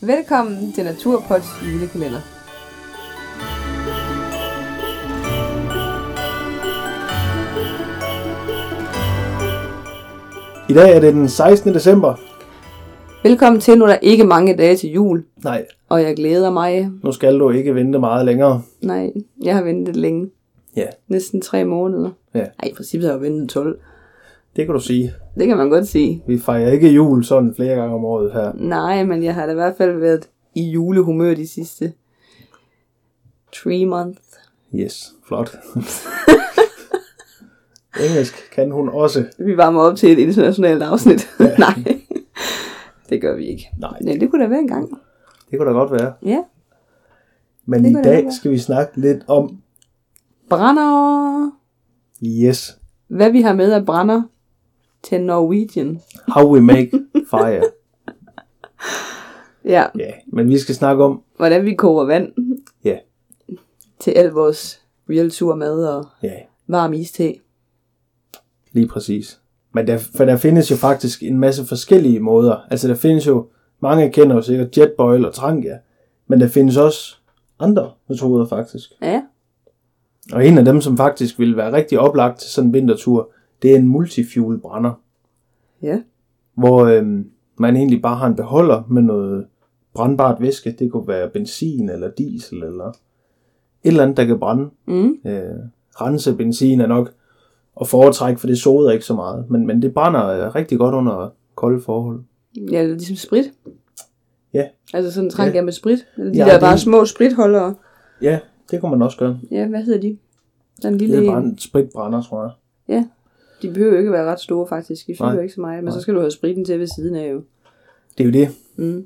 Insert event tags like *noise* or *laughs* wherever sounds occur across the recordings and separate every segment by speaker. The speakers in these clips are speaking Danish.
Speaker 1: Velkommen til Naturpods julekalender.
Speaker 2: I dag er det den 16. december.
Speaker 1: Velkommen til, nu er der ikke mange dage til jul,
Speaker 2: Nej,
Speaker 1: og jeg glæder mig.
Speaker 2: nu skal du ikke vente meget længere.
Speaker 1: Nej, jeg har ventet længe.
Speaker 2: Ja.
Speaker 1: Næsten tre måneder.
Speaker 2: Ja.
Speaker 1: Ej, i princippet har jeg ventet 12.
Speaker 2: Det kan du sige.
Speaker 1: Det kan man godt sige.
Speaker 2: Vi fejrer ikke jul sådan flere gange om året her.
Speaker 1: Nej, men jeg har da i hvert fald været i julehumør de sidste three months.
Speaker 2: Yes,
Speaker 1: *laughs*
Speaker 2: flot. Engelsk kan hun også.
Speaker 1: Vi varmer op til et internationalt afsnit. Ja. *laughs* Nej, det gør vi ikke.
Speaker 2: Nej,
Speaker 1: Men det kunne da være en gang.
Speaker 2: det kunne da godt være.
Speaker 1: Ja.
Speaker 2: Men
Speaker 1: Det
Speaker 2: i
Speaker 1: kunne da godt
Speaker 2: dag
Speaker 1: være.
Speaker 2: skal vi snakke lidt om,
Speaker 1: Brænder!
Speaker 2: yes,
Speaker 1: Hvad vi har med af brænder til Norwegian.
Speaker 2: how we make
Speaker 1: *laughs*
Speaker 2: fire.
Speaker 1: Ja,
Speaker 2: Ja, men vi skal snakke om,
Speaker 1: hvordan vi koger vand.
Speaker 2: Ja.
Speaker 1: Til al vores real sur mad og
Speaker 2: ja,
Speaker 1: varm iste.
Speaker 2: Lige præcis. Men der, for der findes jo faktisk en masse forskellige måder. Altså der findes jo, mange kender jo sikkert jetboil og trangia, men der findes også andre metoder faktisk.
Speaker 1: Ja,
Speaker 2: Og en af dem, som faktisk ville være rigtig oplagt til sådan en vintertur, det er en multifuel brænder,
Speaker 1: ja.
Speaker 2: hvor øhm, man egentlig bare har en beholder med noget brandbart væske. Det kunne være benzin eller diesel eller et eller andet, der kan brænde
Speaker 1: Mm.
Speaker 2: øh, rense benzin er nok at foretrække, for det soder ikke så meget. Men, men det brænder øh, rigtig godt under kolde forhold.
Speaker 1: Ja, eller ligesom sprit.
Speaker 2: Ja.
Speaker 1: Altså sådan en trang
Speaker 2: Ja.
Speaker 1: ja. med sprit. Eller de
Speaker 2: Ja,
Speaker 1: ja, der
Speaker 2: det-
Speaker 1: bare små spritholdere.
Speaker 2: Ja, det kunne man også gøre.
Speaker 1: Ja, hvad hedder de? Den lille
Speaker 2: Det er
Speaker 1: en.
Speaker 2: brand, spritbrænder, tror jeg.
Speaker 1: De behøver jo ikke være ret store faktisk. De fylder
Speaker 2: Nej.
Speaker 1: jo ikke så meget. Men
Speaker 2: Nej.
Speaker 1: så skal du have spritten til ved siden af jo.
Speaker 2: Det er jo det.
Speaker 1: Mm.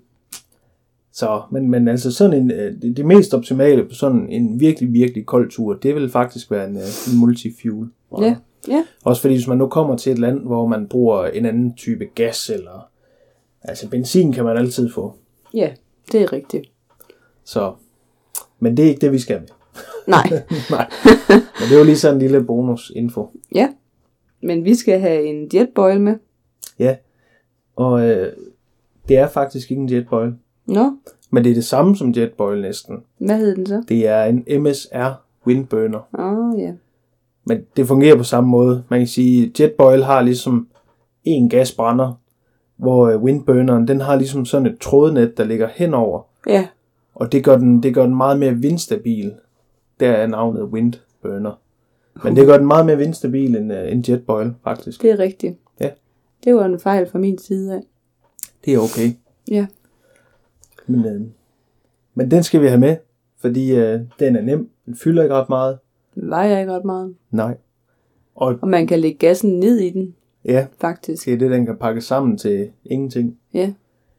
Speaker 2: Så, men, men altså sådan en, øh, det, det mest optimale på sådan en virkelig, virkelig kold tur, det vil faktisk være en, øh, en multifuel. brænder.
Speaker 1: Ja, ja.
Speaker 2: Også fordi hvis man nu kommer til et land, hvor man bruger en anden type gas, eller altså benzin kan man altid få.
Speaker 1: Ja, det er rigtigt.
Speaker 2: Så, men det er ikke det, vi skal med.
Speaker 1: Nej,
Speaker 2: Nej. Men det er jo lige sådan en lille bonusinfo.
Speaker 1: ja. *laughs* Men vi skal have en jetboil med.
Speaker 2: Og øh, det er faktisk ikke en jetboil.
Speaker 1: Nå,
Speaker 2: Men det er det samme som jetboil næsten.
Speaker 1: hvad hed den så?
Speaker 2: Det er en MSR windburner.
Speaker 1: Åh, oh, ja.
Speaker 2: Men det fungerer på samme måde. Man kan sige, at jetboil har ligesom en gasbrænder, hvor øh, windburneren den har ligesom sådan et trådnet, der ligger henover.
Speaker 1: Ja,
Speaker 2: Og det gør den, det gør den meget mere vindstabil. Der er navnet windburner. Men det gør den meget mere vindstabil end øh, en jetboil, faktisk.
Speaker 1: det er rigtigt.
Speaker 2: Ja.
Speaker 1: Det var en fejl fra min side af.
Speaker 2: Det er okay.
Speaker 1: Ja.
Speaker 2: Men, øh, men den skal vi have med, fordi øh, den er nem. Den fylder ikke ret meget.
Speaker 1: Den vejer ikke ret meget.
Speaker 2: Nej. Og
Speaker 1: Og man kan lægge gassen ned i den,
Speaker 2: ja,
Speaker 1: faktisk.
Speaker 2: det er det, den kan pakke sammen til ingenting.
Speaker 1: Ja.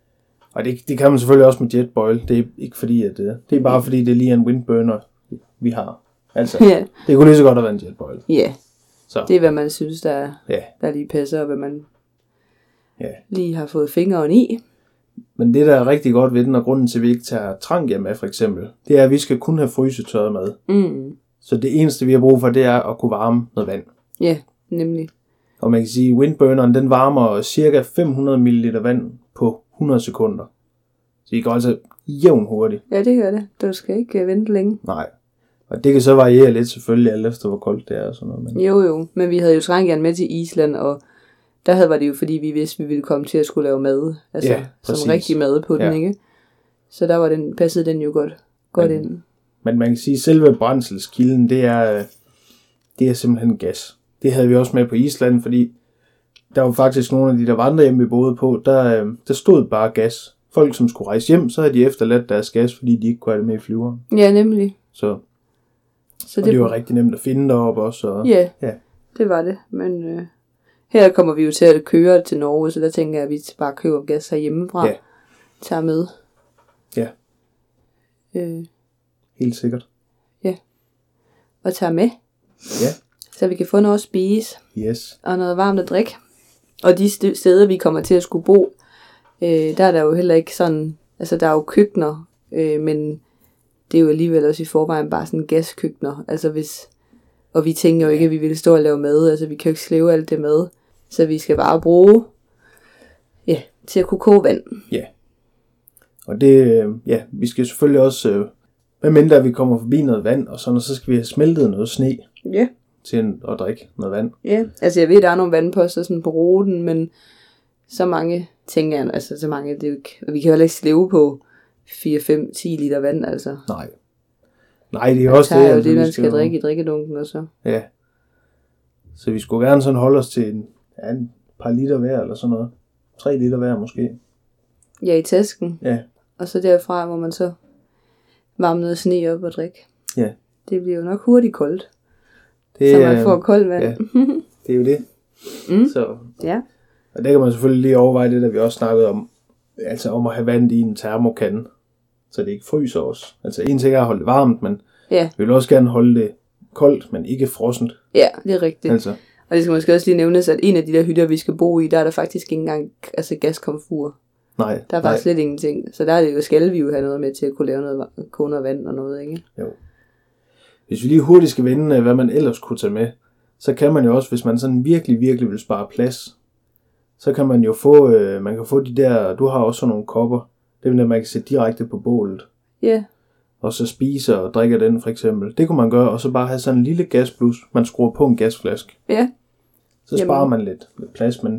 Speaker 1: *laughs*
Speaker 2: Og det, det kan man selvfølgelig også med jetboil. Det er ikke fordi, at det, det er bare fordi, det er lige en windburner, vi har. Altså,
Speaker 1: Ja,
Speaker 2: det kunne lige så godt have været en jetboil.
Speaker 1: ja.
Speaker 2: Så.
Speaker 1: det er, hvad man synes, der,
Speaker 2: Ja,
Speaker 1: der lige passer, og hvad man
Speaker 2: Ja.
Speaker 1: lige har fået fingeren i.
Speaker 2: men det, der er rigtig godt ved den, og grunden til, at vi ikke tager trangia med, for eksempel, det er, at vi skal kun have frysetøjet med.
Speaker 1: Mm.
Speaker 2: Så det eneste, vi har brug for, det er at kunne varme noget vand.
Speaker 1: Ja, nemlig.
Speaker 2: Og man kan sige, at windburneren den varmer ca. 500 ml vand på 100 sekunder. Så I går altså jævn hurtigt.
Speaker 1: Ja, det gør det. Du skal ikke øh, vente længe.
Speaker 2: Nej. Og det kan så variere lidt selvfølgelig, alt efter hvor koldt det er og sådan noget. Men...
Speaker 1: Jo, jo. Men vi havde jo trangjern med til Island, og der havde var det jo, fordi vi vidste, vi ville komme til at skulle lave mad. Altså,
Speaker 2: Ja, præcis.
Speaker 1: som rigtig mad på den,
Speaker 2: Ja.
Speaker 1: ikke? Så der var den, passede den jo godt, godt
Speaker 2: Men-
Speaker 1: ind.
Speaker 2: men man kan sige, at selve brændselskilden, det er, øh, det er simpelthen gas. Det havde vi også med på Island, fordi der var faktisk nogle af de der vandrehjem, vi boede på, der, øh, der stod bare gas. Folk, som skulle rejse hjem, så havde de efterladt deres gas, fordi de ikke kunne have det med i flyveren.
Speaker 1: Ja, nemlig.
Speaker 2: Så
Speaker 1: Så
Speaker 2: og det var rigtig nemt at finde deroppe også. Og...
Speaker 1: Ja,
Speaker 2: Ja.
Speaker 1: det var det. Men øh, her kommer vi jo til at køre til Norge, så der tænker jeg, at vi bare køber gas herhjemmefra.
Speaker 2: Ja.
Speaker 1: Tager med.
Speaker 2: Ja.
Speaker 1: Øh,
Speaker 2: Helt sikkert.
Speaker 1: og tager med.
Speaker 2: Ja.
Speaker 1: Så vi kan få noget at spise
Speaker 2: Yes.
Speaker 1: og noget varmt at drikke. Og de st- steder, vi kommer til at skulle bo, øh, der er der jo heller ikke sådan... Altså, der er jo køkkener, øh, men det er jo alligevel også i forvejen bare sådan gaskøkkener. Altså, hvis... Og vi tænker jo ikke, at vi ville stå og lave mad. Altså, vi kan jo ikke slæve alt det mad. Så vi skal bare bruge... Ja, til at kunne koge vand.
Speaker 2: Og det, øh, ja, vi skal selvfølgelig også, øh, hvad mindre vi kommer forbi noget vand og sådan, og så skal vi have smeltet noget sne
Speaker 1: Ja,
Speaker 2: til en- at drikke noget vand.
Speaker 1: ja. Altså, jeg ved, der er nogle vandposter sådan på ruten, men så mange, tænker jeg, altså så mange, det er jo ikke, og vi kan jo heller ikke slæve på 4, 5, 10 liter vand, altså.
Speaker 2: Nej. Nej, det er
Speaker 1: Man
Speaker 2: også
Speaker 1: tager jo
Speaker 2: altså,
Speaker 1: det,
Speaker 2: vi
Speaker 1: man skal
Speaker 2: jo-
Speaker 1: drikke i drikkedunken, og så.
Speaker 2: Ja. Så vi skulle gerne sådan holde os til en, ja, en par liter hver eller sådan noget. Tre liter hver måske.
Speaker 1: Ja, i tasken.
Speaker 2: Ja.
Speaker 1: Og så derfra, hvor man så varme noget sne op og drikke.
Speaker 2: Ja.
Speaker 1: Det bliver jo nok hurtigt koldt,
Speaker 2: Det,
Speaker 1: så man
Speaker 2: øh,
Speaker 1: får koldt vand.
Speaker 2: ja. det er jo det.
Speaker 1: Mm.
Speaker 2: Så,
Speaker 1: ja.
Speaker 2: og der kan man selvfølgelig lige overveje det, der vi også snakkede om. Altså om at have vand i en termokande. Så det ikke fryser os. Altså en ting er at holde det varmt, men
Speaker 1: Ja.
Speaker 2: vi vil også gerne holde det koldt, men ikke frossent.
Speaker 1: Ja, det er rigtigt.
Speaker 2: Altså,
Speaker 1: Og det skal måske også lige nævnes, at en af de der hytter, vi skal bo i, der er der faktisk ikke engang altså gaskomfur.
Speaker 2: nej.
Speaker 1: Der er
Speaker 2: nej.
Speaker 1: faktisk slet ingenting. Så der er det jo, skal vi jo have noget med til at kunne lave noget va- koner vand og noget, ikke?
Speaker 2: Hvis vi lige hurtigt skal vende, øh, hvad man ellers kunne tage med, så kan man jo også, hvis man sådan virkelig, virkelig vil spare plads, så kan man jo få, øh, man kan få de der, du har også sådan nogle kopper, det er der, man kan sætte direkte på bålet,
Speaker 1: Ja,
Speaker 2: og så spise og drikke af den for eksempel. Det kunne man gøre, og så bare have sådan en lille gasblus, man skruer på en gasflaske.
Speaker 1: ja,
Speaker 2: Så
Speaker 1: Jamen.
Speaker 2: sparer man lidt, lidt plads, men,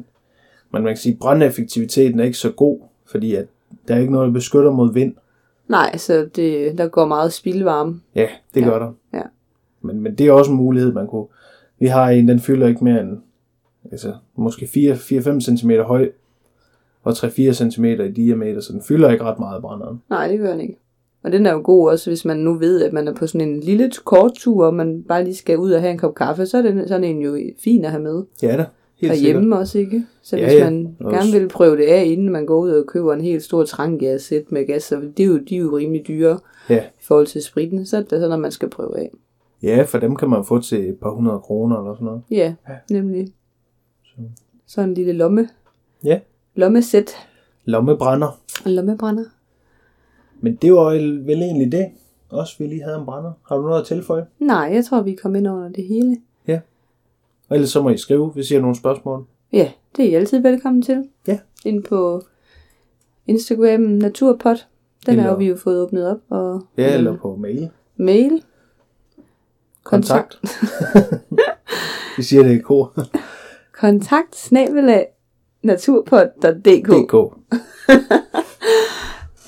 Speaker 2: men man kan sige, at brandeffektiviteten er ikke så god, fordi at der er ikke noget, der beskytter mod vind.
Speaker 1: nej, så det, der går meget spildvarme.
Speaker 2: Ja, det
Speaker 1: Ja.
Speaker 2: gør der.
Speaker 1: Ja.
Speaker 2: Men, men det er også en mulighed, man kunne... Vi har en, den fylder ikke mere end altså, måske 4-5 cm høj og 3-4 cm i diameter, så den fylder ikke ret meget brænderen.
Speaker 1: Nej, det gør den ikke. Og den er jo god også, hvis man nu ved, at man er på sådan en lille kort tur, og man bare lige skal ud og have en kop kaffe, så er den sådan en jo fin at have med.
Speaker 2: Ja da, helt
Speaker 1: og
Speaker 2: sikkert.
Speaker 1: hjemme også, ikke? Så
Speaker 2: Ja,
Speaker 1: hvis
Speaker 2: ja.
Speaker 1: man
Speaker 2: Og
Speaker 1: gerne
Speaker 2: s-
Speaker 1: vil prøve det af, inden man går ud og køber en helt stor trangias-sæt med gas, så det er jo, de er jo rimelig dyre
Speaker 2: Ja.
Speaker 1: i forhold til spritten, så er det sådan, at man skal prøve af.
Speaker 2: Ja, for dem kan man få til et par hundrede kroner eller sådan noget.
Speaker 1: Ja,
Speaker 2: Ja.
Speaker 1: ja. nemlig.
Speaker 2: Så.
Speaker 1: Sådan en lille lomme.
Speaker 2: Ja.
Speaker 1: Lommesæt.
Speaker 2: Lommebrænder.
Speaker 1: Og lommebrænder.
Speaker 2: Men det var vel vel egentlig det. Også vi lige havde en brænder. Har du noget at tilføje?
Speaker 1: Nej, jeg tror, vi er kommet ind under det hele.
Speaker 2: Og ellers så må I skrive, hvis I har nogle spørgsmål.
Speaker 1: Ja, det er I altid velkommen til.
Speaker 2: Ja.
Speaker 1: Ind på Instagram Naturpot. Den
Speaker 2: Eller-
Speaker 1: har vi jo fået åbnet op. Og
Speaker 2: Ja, eller på mail.
Speaker 1: mail.
Speaker 2: Kontakt. *laughs* Vi siger det i kor. *laughs*
Speaker 1: kontakt snabelag naturpod.dk.
Speaker 2: DK.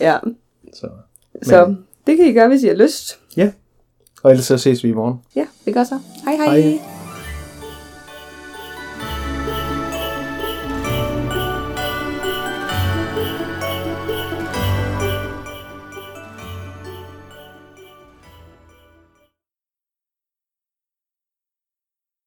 Speaker 1: Ja,
Speaker 2: Så.
Speaker 1: så det kan I gøre, hvis I har lyst.
Speaker 2: Og ellers så ses vi i morgen.
Speaker 1: Ja, det gør så. Hej hej.
Speaker 2: Hej.
Speaker 1: hej.